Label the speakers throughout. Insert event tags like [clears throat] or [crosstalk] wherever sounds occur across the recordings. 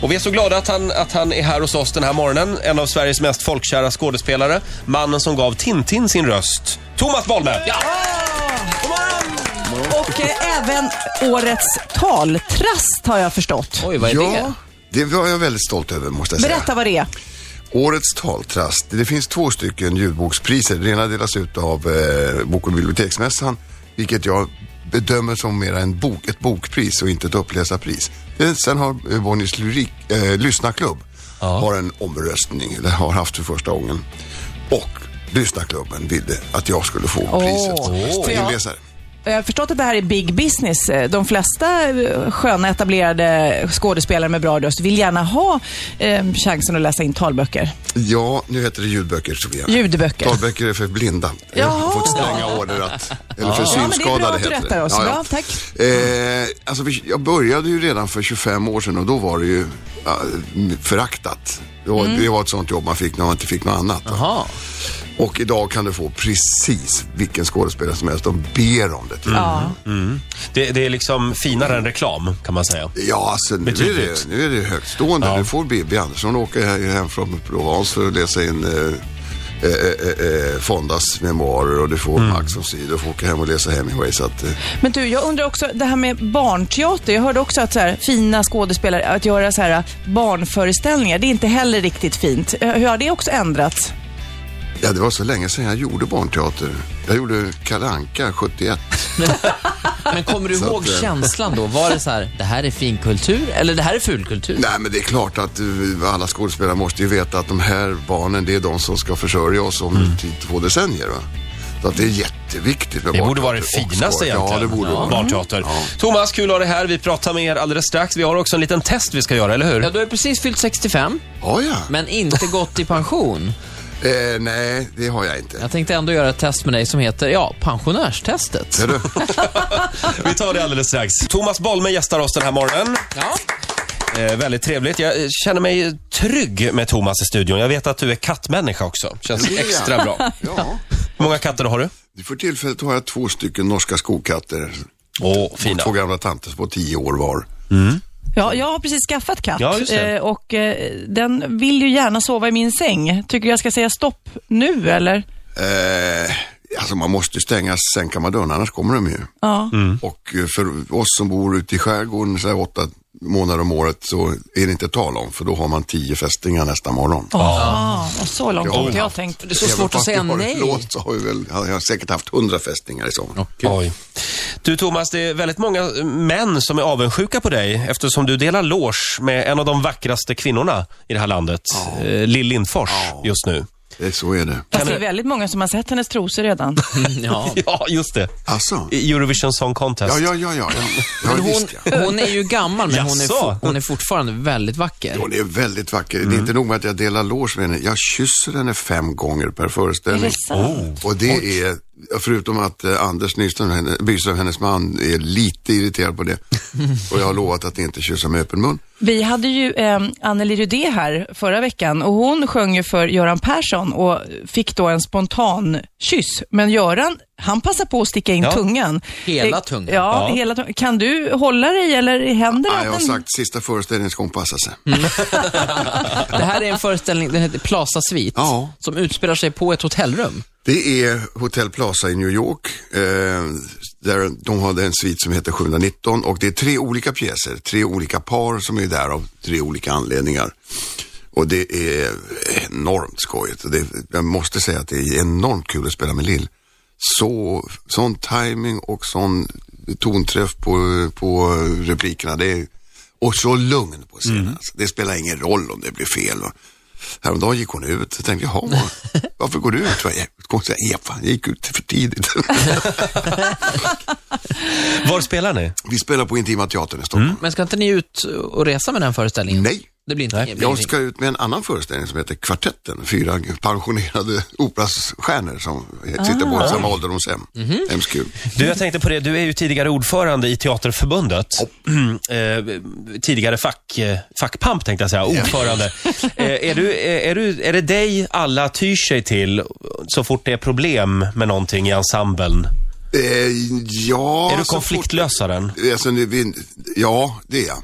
Speaker 1: Och vi är så glada att han, att han är här hos oss den här morgonen. En av Sveriges mest folkkära skådespelare. Mannen som gav Tintin sin röst. Thomas Bolme! Ja.
Speaker 2: Ah! Och eh, även årets taltrast har jag förstått.
Speaker 3: Oj, vad är
Speaker 4: Ja,
Speaker 3: det?
Speaker 4: det var jag väldigt stolt över måste jag säga.
Speaker 2: Berätta vad det är.
Speaker 4: Årets taltrast. Det finns två stycken ljudbokspriser. Den ena delas ut av eh, Bok och biblioteksmässan, vilket jag bedömer som mer en bok, ett bokpris och inte ett uppläsarpris. Eh, Sen har eh, Bonniers lyrik, eh, lyssnarklubb har en omröstning, eller har haft för första gången. Och lyssnarklubben ville att jag skulle få priset som bästa
Speaker 2: Ja.
Speaker 4: inläsare.
Speaker 2: Jag har förstått att det här är big business. De flesta eh, sköna etablerade skådespelare med bra röst vill gärna ha eh, chansen att läsa in talböcker.
Speaker 4: Ja, nu heter det ljudböcker Sofia.
Speaker 2: Ljudböcker.
Speaker 4: Talböcker är för blinda. Jag
Speaker 2: Jaha.
Speaker 4: har fått stränga order att, eller för
Speaker 2: Ja, men det är bra
Speaker 4: synskadade
Speaker 2: att du
Speaker 4: heter
Speaker 2: rättar oss. Bra, tack.
Speaker 4: Eh, alltså, vi- jag började ju redan för 25 år sedan och då var det ju ja, föraktat. Det var,
Speaker 2: Mm.
Speaker 4: det var ett sånt jobb man fick när man inte fick något annat.
Speaker 3: Jaha.
Speaker 4: Och idag kan du få precis vilken skådespelare som helst. De ber om det. till dig.
Speaker 2: Ja.
Speaker 1: Det, det är liksom finare än reklam, kan man säga.
Speaker 4: Ja, alltså nu är
Speaker 1: Betydligt.
Speaker 4: det, nu är det högtstående. Nu får Bibi Andersson åka he- hem från Provence för att läsa in eh, eh, eh, eh, Fondas memoarer och du får
Speaker 1: Mm.
Speaker 4: Max von Sydow få åka hem och läsa Hemingway. Så att, eh,
Speaker 2: Men du, jag undrar också det här med barnteater. Jag hörde också att så här, fina skådespelare, att göra så här barnföreställningar, det är inte heller riktigt fint. Eh, Hur har det också ändrats?
Speaker 4: ja, det var så länge sedan jag gjorde barnteater. Jag gjorde Kalle Anka 71.
Speaker 3: Men kommer du
Speaker 4: Så
Speaker 3: ihåg
Speaker 4: att, eh,
Speaker 3: känslan då? Var det så här, det här är finkultur eller det här är fulkultur?
Speaker 4: Nej, men det är klart att eh, alla skådespelare måste ju veta att de här barnen, det är de som ska försörja oss om
Speaker 1: Mm.
Speaker 4: typ två decennier. Va? Så att det är jättegviktigt med
Speaker 1: Det borde vara det
Speaker 4: barnteater och
Speaker 1: finaste
Speaker 4: skådespelare.
Speaker 1: egentligen.
Speaker 4: Ja, det borde vara.
Speaker 1: Barnteater. Thomas, kul att ha dig här. Vi pratar med er alldeles strax. Vi har också en liten test vi ska göra, eller hur?
Speaker 3: Ja, du har ju precis fyllt 65,
Speaker 4: Ja, ja. [laughs]
Speaker 3: men inte gått i pension.
Speaker 4: Eh, nej, det har jag inte.
Speaker 3: Jag tänkte ändå göra ett test med dig som heter, ja, pensionärstestet.
Speaker 4: Ser du?
Speaker 1: Vi tar det alldeles strax. Thomas Bolme gästar oss den här morgonen.
Speaker 3: Ja.
Speaker 1: Eh, väldigt trevligt. Jag eh, känner mig trygg med Thomas i studion. Jag vet att du är kattmänniska också. Känns
Speaker 4: [laughs] Det är jag.
Speaker 1: extra
Speaker 4: [laughs]
Speaker 1: bra.
Speaker 4: Ja.
Speaker 1: Hur många katter har du?
Speaker 4: För tillfället har jag två stycken norska skokatter.
Speaker 1: Åh, fina.
Speaker 4: Två gamla tanter på tio år var.
Speaker 2: Ja, jag har precis skaffat katt
Speaker 1: Ja, just det.
Speaker 2: eh, och eh, den vill ju gärna sova i min säng. Tycker du jag ska säga stopp nu eller?
Speaker 4: Eh, alltså man måste stänga sängkammardörren, annars kommer de ju.
Speaker 2: Ja.
Speaker 4: Och eh, för oss som bor ute i skärgården så här åtta månader om året så är det inte tal om, för då har man tio fästingar nästa morgon.
Speaker 2: Åh, och Ah, så långt har inte jag tänkt.
Speaker 3: Det är så svårt att säga
Speaker 4: Även fast det
Speaker 3: nej.
Speaker 4: har Låst, så har vi väl, jag har säkert haft hundra fästingar i sommar.
Speaker 1: Oj. Du Thomas, det är väldigt många eh, män som är avundsjuka på dig eftersom du delar loge med en av de vackraste kvinnorna i det här landet, eh, Lill Lindfors, just nu. [laughs]
Speaker 4: Eh, Så är det.
Speaker 2: Fast det är väldigt många som har sett hennes
Speaker 1: [laughs]
Speaker 2: trosor redan.
Speaker 3: [laughs] Ja.
Speaker 1: Ja, just det.
Speaker 4: Alltså?
Speaker 1: I Eurovision Song Contest.
Speaker 4: Ja, ja, ja, ja. ja, ja
Speaker 3: Men
Speaker 4: visst,
Speaker 3: hon,
Speaker 4: ja.
Speaker 3: hon är ju gammal, men hon är,
Speaker 1: Jaså?
Speaker 3: fo- hon är fortfarande väldigt vacker.
Speaker 4: Hon är väldigt vacker. Det är inte nog med att jag delar loge med henne. Jag kysser henne fem gånger per föreställning.
Speaker 1: Oh.
Speaker 4: Och det är, förutom att eh, Anders Nyström, henne- Byström, hennes man, är lite irriterad på det. Och jag har lovat att inte kyssa med öppen mun.
Speaker 2: Vi hade ju eh, Anneli Rudé här förra veckan och hon sjöng ju för Göran Persson och fick då en spontan kyss. Men Göran, han passade på att sticka in
Speaker 1: Ja.
Speaker 2: tungan.
Speaker 3: Hela
Speaker 2: Eh,
Speaker 3: tungan.
Speaker 2: Ja,
Speaker 1: Ja.
Speaker 2: Hela tungan. Kan du hålla dig eller händer det
Speaker 4: Nej, Ah, jag har
Speaker 2: att den-
Speaker 4: sagt sista föreställningen ska hon passa sig.
Speaker 3: Det här är en föreställning, den heter Plaza Suite,
Speaker 4: Ja.
Speaker 3: som utspelar sig på ett hotellrum.
Speaker 4: Det är Hotel Plaza i New York. Eh, där de hade en svit som heter 719 och det är tre olika pjäser, tre olika par som är där av tre olika anledningar. Och det är enormt skojigt. Och det, jag måste säga att det är enormt kul att spela med Lill. Så, sån timing och sån tonträff på, på replikerna. Det är, och så lugn på scenen. Alltså, det spelar ingen roll om det blir fel. Va? Häromdagen gick hon ut. Jag tänkte, jaha, vad-
Speaker 1: [laughs]
Speaker 4: varför går du ut? Va? Hon säger, Eva, jag gick ut för tidigt. [laughs]
Speaker 1: Var spelar ni?
Speaker 4: Vi spelar på Intima Teatern i Stockholm.
Speaker 1: Mm.
Speaker 3: Men ska inte ni ut och resa med den föreställningen?
Speaker 4: Nej.
Speaker 3: Det blir inte det blir
Speaker 4: Jag
Speaker 3: ingenting.
Speaker 4: ska ut med en annan föreställning som heter Kvartetten. Fyra pensionerade [laughs] operastjärnor som sitter
Speaker 1: Ah.
Speaker 4: på samma ålderdomshem.
Speaker 1: Mhm.
Speaker 4: Hemskt kul.
Speaker 1: Du, jag tänkte på det. Du är ju tidigare ordförande i Teaterförbundet. [clears throat] eh, tidigare fack, eh, fackpamp tänkte jag säga. Ordförande. eh, är, du, eh, är, du, är det dig alla tyr sig till så fort det är problem med någonting i ensemblen?
Speaker 4: Eh, ja,
Speaker 1: är du
Speaker 4: så fort-
Speaker 1: konfliktlösaren? Mm.
Speaker 4: Alltså, nu, vi, ja, det är jag.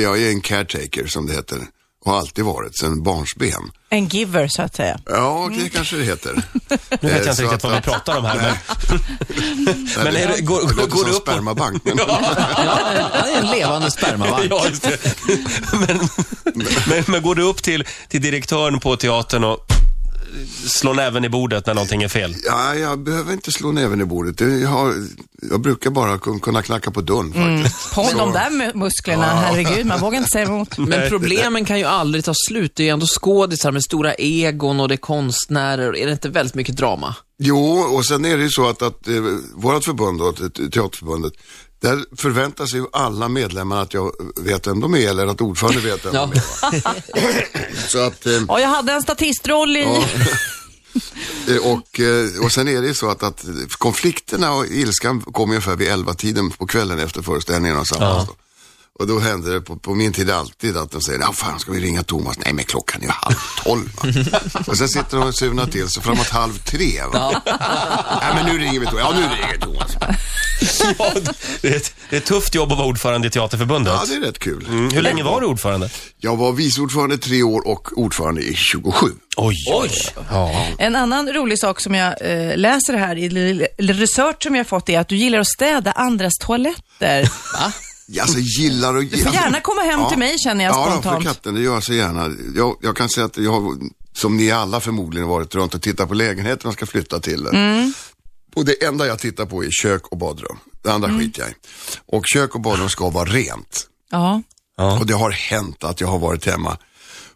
Speaker 4: jag är en caretaker som det heter och har alltid varit sedan barnsben.
Speaker 2: En giver, så att säga.
Speaker 4: Ja, det
Speaker 1: Mm.
Speaker 4: kanske
Speaker 1: [laughs]
Speaker 4: det heter.
Speaker 1: Nu vet jag inte
Speaker 4: så
Speaker 1: riktigt
Speaker 4: att-
Speaker 1: vad vi pratar om här. Men, men är det, går,
Speaker 4: Det
Speaker 1: går,
Speaker 4: låter
Speaker 1: går
Speaker 4: som
Speaker 1: det upp? [laughs]
Speaker 4: spermabank. [laughs] Men,
Speaker 3: Han är en
Speaker 4: [laughs]
Speaker 3: levande spermabank.
Speaker 1: Ja, just det. [laughs] Men, men, men går du upp till, till direktören på teatern och slår näven i bordet när någonting är fel?
Speaker 4: ja, jag behöver inte slå näven i bordet. Det- Jag, har, jag brukar bara kun- kunna knacka på dörren faktiskt.
Speaker 2: På
Speaker 4: Så-
Speaker 2: de där mu- musklerna, herregud, man vågar inte säga emot.
Speaker 3: Men problemen kan ju aldrig ta slut. Det är ju ändå skådisar med stora egon och det är konstnärer. Är det inte väldigt mycket drama?
Speaker 4: Jo, och sen är det ju så att, att eh, vårt förbund, då, te- te- Teaterförbundet, där förväntar sig ju alla medlemmar att jag vet vem de är eller att ordföranden vet vem
Speaker 3: Ja.
Speaker 4: de är. Så att, eh,
Speaker 2: Ja, jag hade en statistroll i...
Speaker 4: Eh, [laughs] Och, eh, och sen är det ju så att, att konflikterna och ilskan kom ungefär vid elva tiden på kvällen efter föreställningen och samlas då. Och då hände det på, på min tid alltid att de säger, ja fan ska vi ringa Thomas? Nej men klockan är ju halv tolv.
Speaker 2: [laughs]
Speaker 4: Va? och sen sitter de och surnar till sig framåt halv tre. Va? [laughs] Nej men nu ringer vi Thomas. Ja nu ringer
Speaker 2: [laughs]
Speaker 4: Thomas.
Speaker 1: Ja, det, är ett, det är ett tufft jobb att vara ordförande i Teaterförbundet.
Speaker 4: Ja det är rätt kul.
Speaker 1: Mm, Hur länge var du ordförande?
Speaker 4: Jag var vice ordförande i tre år och ordförande i 27.
Speaker 1: Oj. Oj. Ja.
Speaker 2: En annan rolig sak som jag eh, läser här i l- l- research som jag fått är att du gillar att städa andras toaletter.
Speaker 4: Alltså gillar och gillar.
Speaker 2: får gärna komma hem till mig, känner jag
Speaker 4: ja, Ja,
Speaker 2: spontant.
Speaker 4: för katten, det gör jag så gärna. Jag, jag kan säga att jag har, som ni alla förmodligen, varit runt och tittat på lägenheter man ska flytta till.
Speaker 2: Mm.
Speaker 4: Och det enda jag tittar på är kök och badrum. Det andra
Speaker 2: Mm.
Speaker 4: skiter jag i. Och kök och badrum ska vara rent.
Speaker 2: Ja.
Speaker 4: Och det har hänt att jag har varit hemma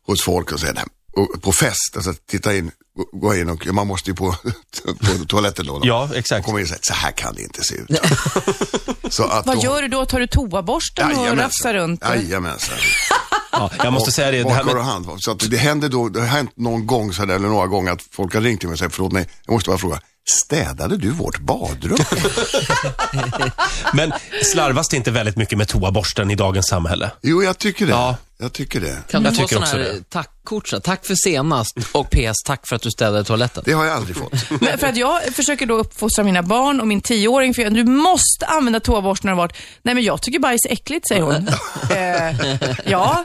Speaker 4: hos folk och säger, och på fest, alltså titta in, gå- gå in och, man måste ju på, [laughs] på toaletten då.
Speaker 1: Ja, exakt.
Speaker 4: Kommer in och säger, så här kan det inte se ut. så att
Speaker 2: Vad
Speaker 4: då-
Speaker 2: gör du då? Tar du toaborsten och
Speaker 4: Jajamensan.
Speaker 2: rafsar runt?
Speaker 4: Jajamensan.
Speaker 1: Ja, jag måste säga det, det här
Speaker 4: Bakar och
Speaker 1: med,
Speaker 4: hand. va? Så att det händer då, det har hänt någon gång så här, eller några gånger att folk har ringt till mig och sagt, förlåt mig, jag måste bara fråga, städade du
Speaker 1: [laughs]
Speaker 4: vårt badrum?
Speaker 1: men slarvas det inte väldigt mycket med toaborsten i dagens samhälle?
Speaker 4: jo, jag tycker det.
Speaker 1: Ja.
Speaker 4: Jag tycker det.
Speaker 3: Kan du
Speaker 1: Jag
Speaker 3: få
Speaker 1: tycker
Speaker 3: sådana
Speaker 1: också
Speaker 3: här
Speaker 1: det.
Speaker 3: tackkort? så här, Tack för senast och PS, tack för att du städade toaletten.
Speaker 4: Det har jag aldrig fått.
Speaker 2: Men för att jag försöker då uppfostra mina barn och min tioåring, för jag, du måste använda toaborsten och varit. Nej men jag tycker bajs är äckligt, säger
Speaker 4: [laughs]
Speaker 2: hon. eh, ja,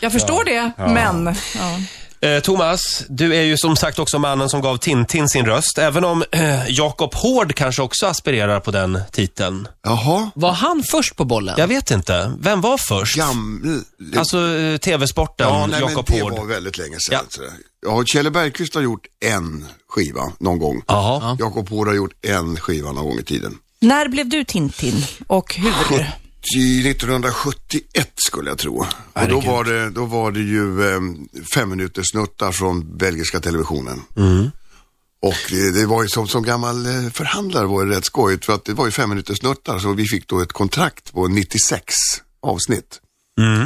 Speaker 2: jag förstår det, men. Ja.
Speaker 1: Eh, Thomas, du är ju som sagt också mannen som gav Tintin sin röst, även om eh, Jakob Hård kanske också aspirerar på den titeln.
Speaker 4: Jaha,
Speaker 3: Var han först på bollen?
Speaker 1: Jag vet inte, vem var först?
Speaker 4: gamle...
Speaker 1: Alltså eh, TV-sporten,
Speaker 4: ja, nej, men
Speaker 1: Jakob
Speaker 4: det
Speaker 1: Hård.
Speaker 4: var väldigt länge sedan.
Speaker 1: Ja.
Speaker 4: alltså. Ja, Kjelle Bergqvist har gjort en skiva någon gång.
Speaker 1: Jaha.
Speaker 4: Jakob Hård har gjort en skiva någon gång i tiden.
Speaker 2: När blev du Tintin och hur?
Speaker 4: I 1971 skulle jag tro. Och då var det, då var det ju eh, fem minuters snuttar från belgiska televisionen. Och eh, det var ju som, som gammal eh, förhandlare var det rätt skojigt för att det var ju fem minuters snuttar så vi fick då ett kontrakt på 96 avsnitt.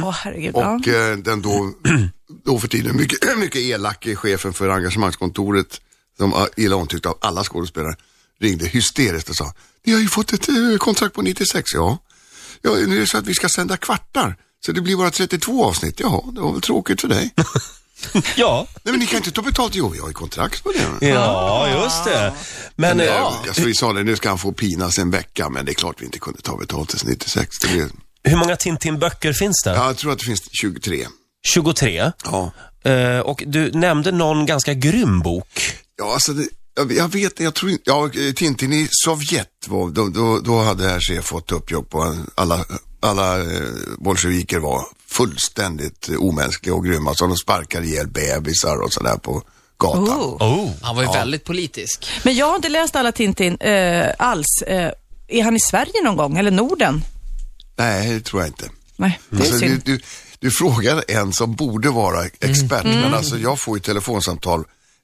Speaker 2: Åh herregud. ja.
Speaker 4: Och eh, den då, då för tiden mycket, [clears throat] mycket elake chefen för engagemangskontoret, som ah, var illa omtyckt av alla skådespelare, ringde hysteriskt och sa, ni har ju fått ett eh, kontrakt på 96, ja. ja. Nu är det så att vi ska sända kvartar, så det blir bara 32 avsnitt, jaha, det var väl tråkigt för dig.
Speaker 1: Ja.
Speaker 4: Nej men ni kan inte ta betalt, jo vi har ju kontrakt på det.
Speaker 1: ja, just det. Men, eh,
Speaker 4: Ja. Alltså, vi sa det, nu ska han få pinas en vecka, men det är klart vi inte kunde ta betalt tills 96. Det blir,
Speaker 1: hur många Tintin-böcker finns det?
Speaker 4: ja, jag tror att det finns 23.
Speaker 1: 23.
Speaker 4: Ja.
Speaker 1: Eh, och du nämnde någon ganska grym bok.
Speaker 4: Ja, alltså det, jag, jag vet jag tror inte, ja, eh, Tintin i Sovjet, var, då, då, då hade herr chef fått uppjobb på alla, alla eh, bolsjeviker var fullständigt eh, omänskliga och grymma, så de sparkade ihjäl bebisar och sådär på gatan.
Speaker 2: Oh.
Speaker 1: Oh.
Speaker 3: Han var ju väldigt politisk.
Speaker 2: Men jag har inte läst alla Tintin eh, alls. Eh, är han i Sverige någon gång, eller Norden?
Speaker 4: Nej, det tror jag inte.
Speaker 2: Nej, det är
Speaker 4: Alltså, du,
Speaker 2: synd. Mm.
Speaker 4: du, du frågar en som borde vara expert, men alltså jag får ju telefonsamtal.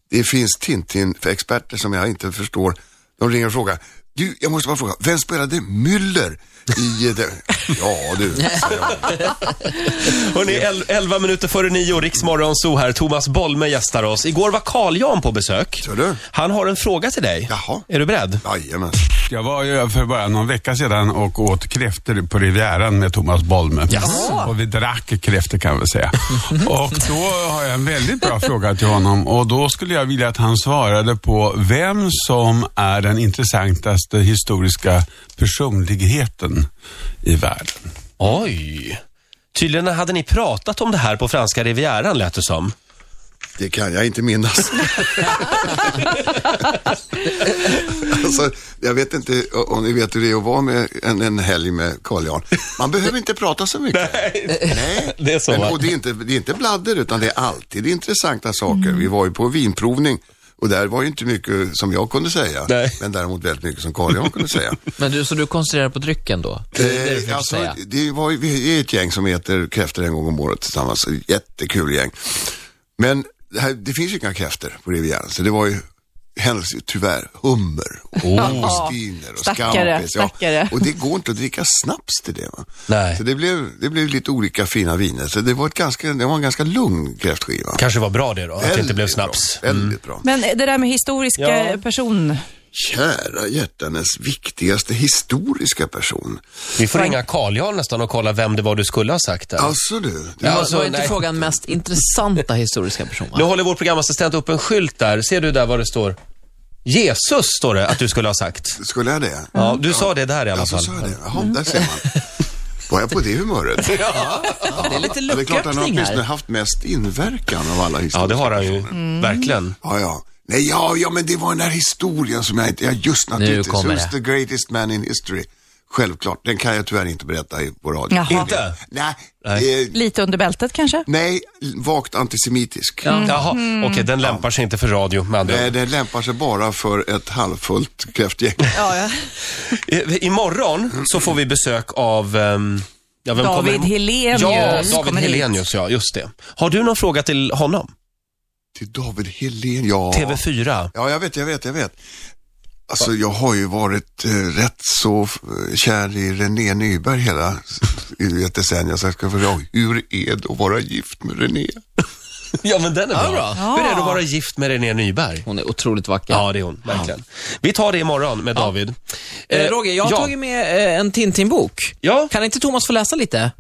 Speaker 4: Det finns Tintin för experter som jag inte förstår. De ringer och frågar, du, jag måste bara fråga, vem spelade Müller i eh, det? [laughs] Ja
Speaker 2: [laughs]
Speaker 4: du, säger jag.
Speaker 1: Hörrni, el- 11 minuter före nio, Riksmorgon så här. Thomas Bolme gästar oss. Igår var Carl-Jan på besök.
Speaker 4: Så du?
Speaker 1: Han har en fråga till dig.
Speaker 4: Jaha.
Speaker 1: Är du beredd?
Speaker 4: jajamän.
Speaker 5: Jag var ju för bara någon vecka sedan och åt kräftor på Rivieran med Thomas Bolme. Och vi drack kräftor kan vi säga. och då har jag en väldigt bra fråga till honom och då skulle jag vilja att han svarade på vem som är den intressantaste historiska personligheten i världen.
Speaker 1: Oj. Tydligen hade ni pratat om det här på franska rivieran, lät det som.
Speaker 4: Det kan jag
Speaker 1: [laughs]
Speaker 4: inte minnas. alltså, jag vet inte om ni vet hur det är att vara med en, en helg med Carl Jan. Man behöver inte prata
Speaker 1: [laughs]
Speaker 4: så mycket. Nej.
Speaker 1: Det är så,
Speaker 4: Men,
Speaker 1: va?
Speaker 4: och det, är inte, det är inte bladder utan det är alltid intressanta saker.
Speaker 1: Mm.
Speaker 4: Vi var ju på vinprovning och där var ju inte mycket som jag kunde säga.
Speaker 1: Nej.
Speaker 4: Men däremot väldigt mycket som Carl Jan kunde säga.
Speaker 3: Men du, så du koncentrerar på drycken då? Det är det du försöker
Speaker 4: Eh, alltså,
Speaker 3: säga.
Speaker 4: det var, ju- vi är ett gäng som äter kräftor en gång om året tillsammans. Jättekul gäng. Men det, här, det finns ju inga kräftor på Rivieran, så det var ju händelse, tyvärr, hummer och angostiner och
Speaker 2: Stackare,
Speaker 4: scampis. Ja,
Speaker 2: stackare.
Speaker 4: Och det går inte att dricka snaps till det. Va?
Speaker 1: Nej.
Speaker 4: Så det blev, det blev lite olika fina viner. Så det var, ett ganska, det var en ganska lugn kräftskiva.
Speaker 1: Kanske var bra det då, att det inte
Speaker 4: Väldigt
Speaker 1: blev
Speaker 4: bra,
Speaker 1: snaps. Mm.
Speaker 4: Väldigt bra.
Speaker 2: Men det där med historiska
Speaker 1: Ja.
Speaker 2: person.
Speaker 4: Kära hjärtanes viktigaste historiska person.
Speaker 1: Vi får ringa Carl Jan nästan och kolla vem det var du skulle ha sagt där.
Speaker 4: Alltså du, det
Speaker 1: Ja,
Speaker 4: var-
Speaker 1: alltså,
Speaker 3: var inte
Speaker 1: nej.
Speaker 3: frågan mest intressanta historiska person?
Speaker 1: Nu
Speaker 3: va?
Speaker 1: håller vår programassistent upp en skylt där. Ser du där vad det står? Jesus står det att du skulle ha sagt.
Speaker 4: skulle jag det?
Speaker 1: Ja, du sa det där i alla
Speaker 4: Ja, Alltså, så
Speaker 1: fall.
Speaker 4: sa jag det. Jaha, där ser man. Var jag på det humöret?
Speaker 3: Det är lite
Speaker 4: Ja, det är klart han har
Speaker 3: lucköppning
Speaker 4: åtminstone
Speaker 3: här.
Speaker 4: haft mest inverkan av alla historier.
Speaker 1: Ja, det har han ju.
Speaker 4: Mm.
Speaker 1: Verkligen.
Speaker 4: Ja, ja. Nej, ja, ja, men det var den här historien som jag inte... Ja, just naturligtvis.
Speaker 3: kommer
Speaker 4: Who's
Speaker 3: det.
Speaker 4: the greatest man in history? Självklart. Den kan jag tyvärr inte berätta i- på radio.
Speaker 2: Jaha.
Speaker 1: Inte?
Speaker 4: Nej,
Speaker 1: Nej.
Speaker 4: eh,
Speaker 2: Lite under bältet kanske?
Speaker 4: nej vagt antisemitisk.
Speaker 2: Mm.
Speaker 1: Jaha, okej, den lämpar sig inte för radio med andra ord.
Speaker 4: Nej, den lämpar sig bara för ett halvfullt kräftgäng.
Speaker 2: Ja, ja.
Speaker 1: Eh, Imorgon så får vi besök av ehm, ja, vem
Speaker 2: David
Speaker 1: kommer-
Speaker 2: Helenius
Speaker 1: Ja, David
Speaker 2: kommer hit.
Speaker 1: Helenius, ja, just det. Har du någon fråga till honom?
Speaker 4: Till David Helén, ja.
Speaker 1: TV4?
Speaker 4: Ja, jag vet, jag vet, jag vet. Alltså jag har ju varit eh, rätt så eh, kär i René Nyberg hela i ett decennium. Så jag ska fråga, hur är det att vara gift med René?
Speaker 1: [laughs] Ja, men den är bra.
Speaker 3: bra.
Speaker 1: Hur är det att vara gift med René Nyberg?
Speaker 3: Hon är otroligt vacker.
Speaker 1: Ja, det är hon, verkligen. Vi tar det imorgon med David.
Speaker 3: Eh, Roger, jag har
Speaker 1: ja.
Speaker 3: tagit med eh, en Tintin-bok.
Speaker 1: Ja,
Speaker 3: Kan inte Thomas få läsa lite?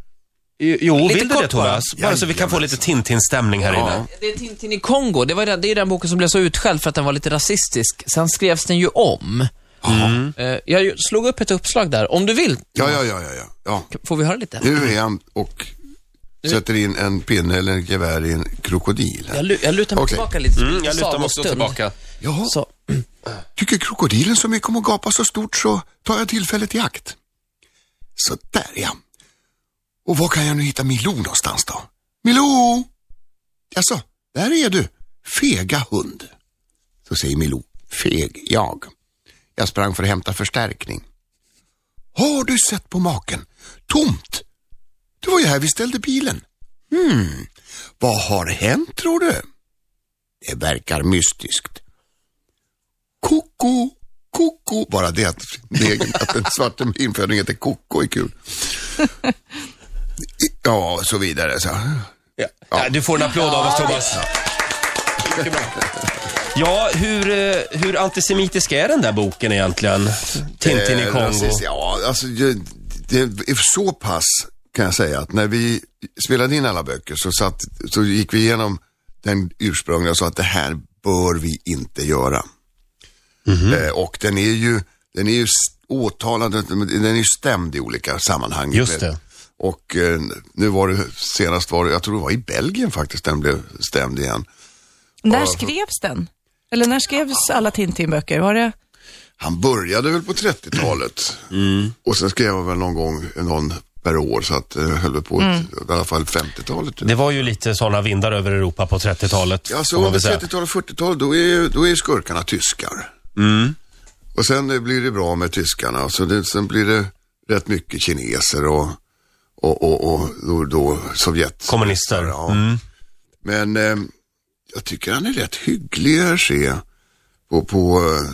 Speaker 1: jo,
Speaker 3: lite
Speaker 1: vill du
Speaker 3: kort
Speaker 1: det
Speaker 3: bara.
Speaker 1: Thomas? Bara så vi kan få lite Tintin-stämning här inne.
Speaker 3: Det är Tintin i Kongo. Det, var den, det är ju den boken som blev så utskälld för att den var lite rasistisk. Sen skrevs den ju om. Eh, Jag ju- slog upp ett uppslag där. Om du vill,
Speaker 4: Ja, ja, ja, ja, ja. ja.
Speaker 3: får vi höra lite?
Speaker 4: Nu är han och sätter in en pinne eller ett gevär i en krokodil.
Speaker 3: Jag, lu- jag lutar mig
Speaker 4: Okej.
Speaker 3: tillbaka lite.
Speaker 1: Mm, jag lutar mig också
Speaker 3: Sagostund.
Speaker 2: typ.
Speaker 1: tillbaka.
Speaker 4: Jaha,
Speaker 3: Så,
Speaker 4: tycker krokodilen så mycket om att gapa så stort så tar jag tillfället i akt. Så där ja. Och var kan jag nu hitta Milou någonstans då? Milou! Jaså, där är du. Fega hund. Så säger Milou. Feg jag. Jag sprang för att hämta förstärkning. Har du sett på maken? Tomt. Det var ju här vi ställde bilen. Hmm, vad har hänt tror du? Det verkar mystiskt. Koko, koko. Bara det att, det, att den svarta infödingen heter koko är kul. Ja, och så vidare. Så.
Speaker 1: Ja. Nej, Du får en applåd av oss Thomas. Mycket bra. Ja, hur, eh, hur antisemitisk är den där boken egentligen? Tintin i
Speaker 4: Eh,
Speaker 1: Kongo.
Speaker 4: rasist, Ja, alltså det, det är så pass kan jag säga att när vi spelade in alla böcker så, satt, så gick vi igenom den ursprungliga och sa att det här bör vi inte göra.
Speaker 1: Mhm.
Speaker 4: Eh, och den är ju, den är ju s- åtalad, den är ju stämd i olika sammanhang.
Speaker 1: Just det.
Speaker 4: Och eh, nu var det, senast var det, jag tror det var i Belgien faktiskt den blev stämd igen.
Speaker 2: När skrevs den? Eller när skrevs alla Tintin-böcker? Var det?
Speaker 4: Han började väl på 30-talet
Speaker 1: Mm.
Speaker 4: och sen skrev han väl någon gång någon per år så att eh, höll väl på ett, i alla fall 50-talet.
Speaker 1: Det var ju lite sådana vindar över Europa på 30-talet.
Speaker 4: Ja,
Speaker 1: får
Speaker 4: så
Speaker 1: man
Speaker 4: under
Speaker 1: väl säga.
Speaker 4: 30-talet och 40-talet då är, ju- då är ju skurkarna tyskar.
Speaker 1: Mm.
Speaker 4: Och sen eh, blir det bra med tyskarna och så det, sen blir det rätt mycket kineser och, och, och, och då, då Sovjet.
Speaker 1: Kommunister. Mm.
Speaker 4: Ja. Men eh, jag tycker han är rätt hygglig Hergé på, på eh,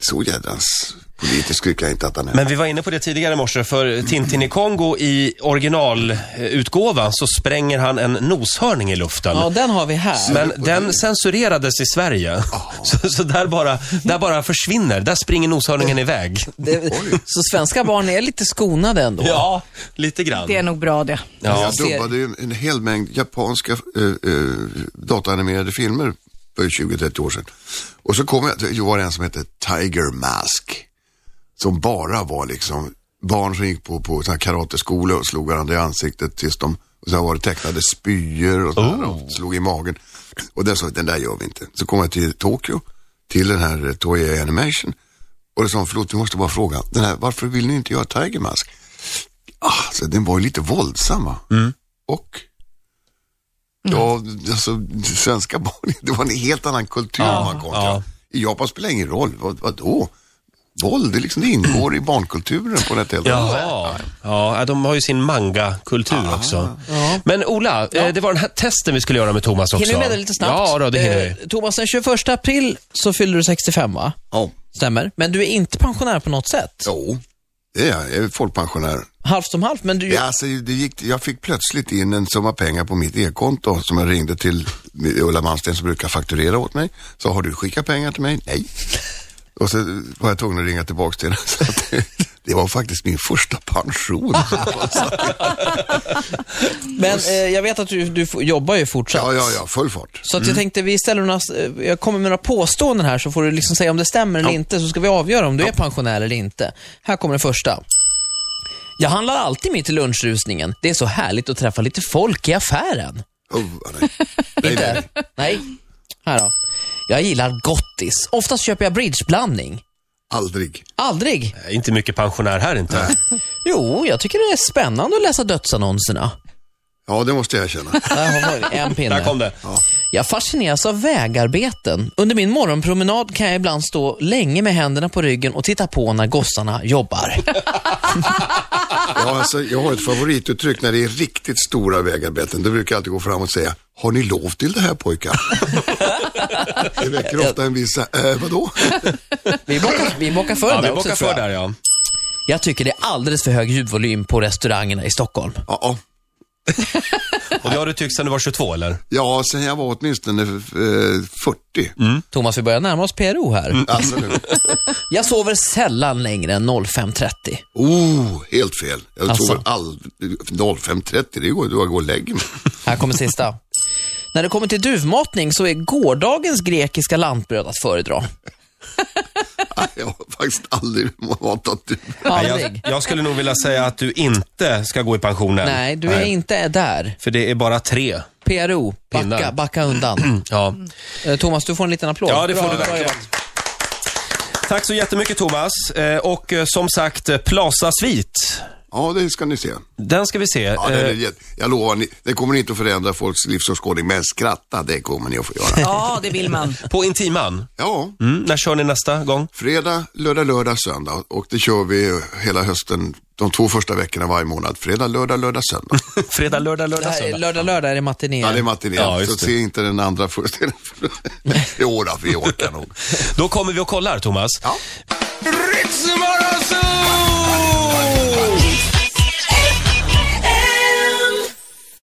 Speaker 4: så jädrans politisk tycker jag inte att han är.
Speaker 1: Men vi var inne på det tidigare i morse, för Tintin i Kongo i originalutgåvan så spränger han en noshörning i luften.
Speaker 3: ja, den har vi här.
Speaker 1: Men den censurerades i Sverige. Så, så där, bara, där bara försvinner, där springer noshörningen iväg.
Speaker 3: Det, så svenska barn är lite skonade ändå.
Speaker 1: Ja, lite grann.
Speaker 2: Det är nog bra det.
Speaker 1: Ja.
Speaker 4: jag dubbade ju en hel mängd japanska eh, eh, dataanimerade filmer för 20-30 år sedan. Och så kom jag, det var en som hette Tiger Mask. Som bara var liksom barn som gick på, på sån här karateskola och slog varandra i ansiktet tills de, och så var det tecknade spyor och, sådär, och slog i magen. Och där sa jag, den där gör vi inte. Så kom jag till Tokyo, till den här eh, Toei Animation. Och då sa de, förlåt, vi måste bara fråga, den här, varför vill ni inte göra Tiger Mask? Ah, så den var ju lite våldsam va?
Speaker 1: Mm.
Speaker 4: Och? Ja, alltså svenska barn, [laughs] det var en helt annan kultur man kom till.
Speaker 1: ja.
Speaker 4: I Japan spelar det ingen roll, vad, vadå? Våld, det, liksom, det ingår i barnkulturen på ett helt annat sätt.
Speaker 1: Jaha. Ja, de har ju sin manga-kultur också. Men Ola, eh, det var den här testen vi skulle göra med Thomas också.
Speaker 3: Hinner vi med det lite snabbt?
Speaker 1: Ja, då, det hinner
Speaker 3: Eh,
Speaker 1: vi.
Speaker 3: Thomas, den 21 april så fyller du 65, va?
Speaker 4: Ja.
Speaker 3: Stämmer. Men du är inte pensionär på något sätt.
Speaker 4: Jo, det är jag. Jag är folkpensionär.
Speaker 3: Halvt om halvt, men du...
Speaker 4: Ja, alltså, det gick, jag fick plötsligt in en summa pengar på mitt e-konto som jag ringde till Ulla Malmsten som brukar fakturera åt mig. Så har du skickat pengar till mig? Nej. Och så var jag tvungen att ringa tillbaka till henne. [laughs] Så att, det var faktiskt min första pension.
Speaker 3: Men eh, jag vet att du, du f- jobbar ju fortsatt.
Speaker 4: Ja, ja, ja, full fart.
Speaker 3: Så att jag tänkte, vi ställer några, eh, jag kommer med några påståenden här så får du liksom säga om det stämmer eller inte, så ska vi avgöra om du är pensionär eller inte. Här kommer den första. Jag handlar alltid mitt i lunchrusningen. Det är så härligt att träffa lite folk i affären.
Speaker 4: Oh, nej. Nej, nej.
Speaker 3: Nej. Här då. Jag gillar gottis. Oftast köper jag bridgeblandning.
Speaker 4: Aldrig.
Speaker 3: Aldrig.
Speaker 1: Nej, Inte mycket pensionär här inte.
Speaker 3: Jo, jag tycker det är spännande att läsa dödsannonserna.
Speaker 4: Ja, det måste jag erkänna.
Speaker 3: Där har vi en pinne.
Speaker 1: Där kom det.
Speaker 3: Jag fascineras av vägarbeten. Under min morgonpromenad kan jag ibland stå länge med händerna på ryggen och titta på när gossarna jobbar.
Speaker 4: Ja, alltså, jag har ett favorituttryck när det är riktigt stora vägarbeten. Då brukar jag alltid gå fram och säga, har ni lov till det här pojkar? det väcker ofta en viss, äh, vadå?
Speaker 3: [laughs] Vi bockar, vi bockar för
Speaker 1: Ja,
Speaker 3: där
Speaker 1: vi
Speaker 3: också,
Speaker 1: bockar
Speaker 3: tror
Speaker 1: för
Speaker 3: jag.
Speaker 1: där ja.
Speaker 3: jag tycker det är alldeles för hög ljudvolym på restaurangerna i Stockholm.
Speaker 4: Ja, ja.
Speaker 1: Och det har du tyckt sedan du var 22 eller?
Speaker 4: ja, sen jag var åtminstone eh, 40.
Speaker 1: Mm.
Speaker 3: Thomas, vi börjar närma oss PRO här.
Speaker 4: Alltså, nu.
Speaker 3: Jag sover sällan längre än 05.30.
Speaker 4: oh, helt fel. Jag
Speaker 3: Alltså.
Speaker 4: sover all, 05.30, det går då jag går och lägger mig. [laughs]
Speaker 3: Här kommer sista. När det kommer till duvmatning så är gårdagens grekiska lantbröd att föredra.
Speaker 4: Nej, Jag har faktiskt aldrig matat ut.
Speaker 1: Nej,
Speaker 3: Aldrig.
Speaker 1: jag, jag skulle nog vilja säga att du inte ska gå i pension än.
Speaker 3: Nej, du är inte där.
Speaker 1: För det är bara tre. Mm.
Speaker 3: PRO, backa,
Speaker 1: Pinnar.
Speaker 3: backa undan.
Speaker 1: Ja,
Speaker 3: Eh, Thomas, du får en liten applåd.
Speaker 1: ja det får
Speaker 3: Bra,
Speaker 1: du
Speaker 3: bra
Speaker 1: verkligen.
Speaker 3: jobbat.
Speaker 1: Tack så jättemycket Thomas. Eh, Och eh, som sagt, eh, Plaza-svit.
Speaker 4: Ja, det ska ni se.
Speaker 1: Den ska vi se.
Speaker 4: Ja, den är
Speaker 1: Eh,
Speaker 4: jätte- jag lovar, ni, det kommer inte att förändra folks livsåskådning, men skratta, det kommer ni att få
Speaker 1: [laughs]
Speaker 4: göra.
Speaker 2: Ja, det vill man.
Speaker 1: eh, På Intiman.
Speaker 4: Ja.
Speaker 1: Mm, när kör ni nästa [laughs] gång?
Speaker 4: Fredag, lördag, lördag, söndag och det kör vi hela hösten, de två första veckorna varje månad. Fredag, lördag, lördag, söndag.
Speaker 1: Fredag, lördag,
Speaker 3: Det
Speaker 1: lördag,
Speaker 3: här är
Speaker 1: söndag.
Speaker 3: lördag, lördag är det matiné.
Speaker 4: Ja, det är matiné,
Speaker 1: Ja, just
Speaker 4: så
Speaker 1: det.
Speaker 4: se inte den andra [laughs] föreställningen. Jo då, vi orkar nog.
Speaker 1: Då kommer vi och kollar Thomas.
Speaker 4: Ja.
Speaker 5: Ritzmorgonzoo!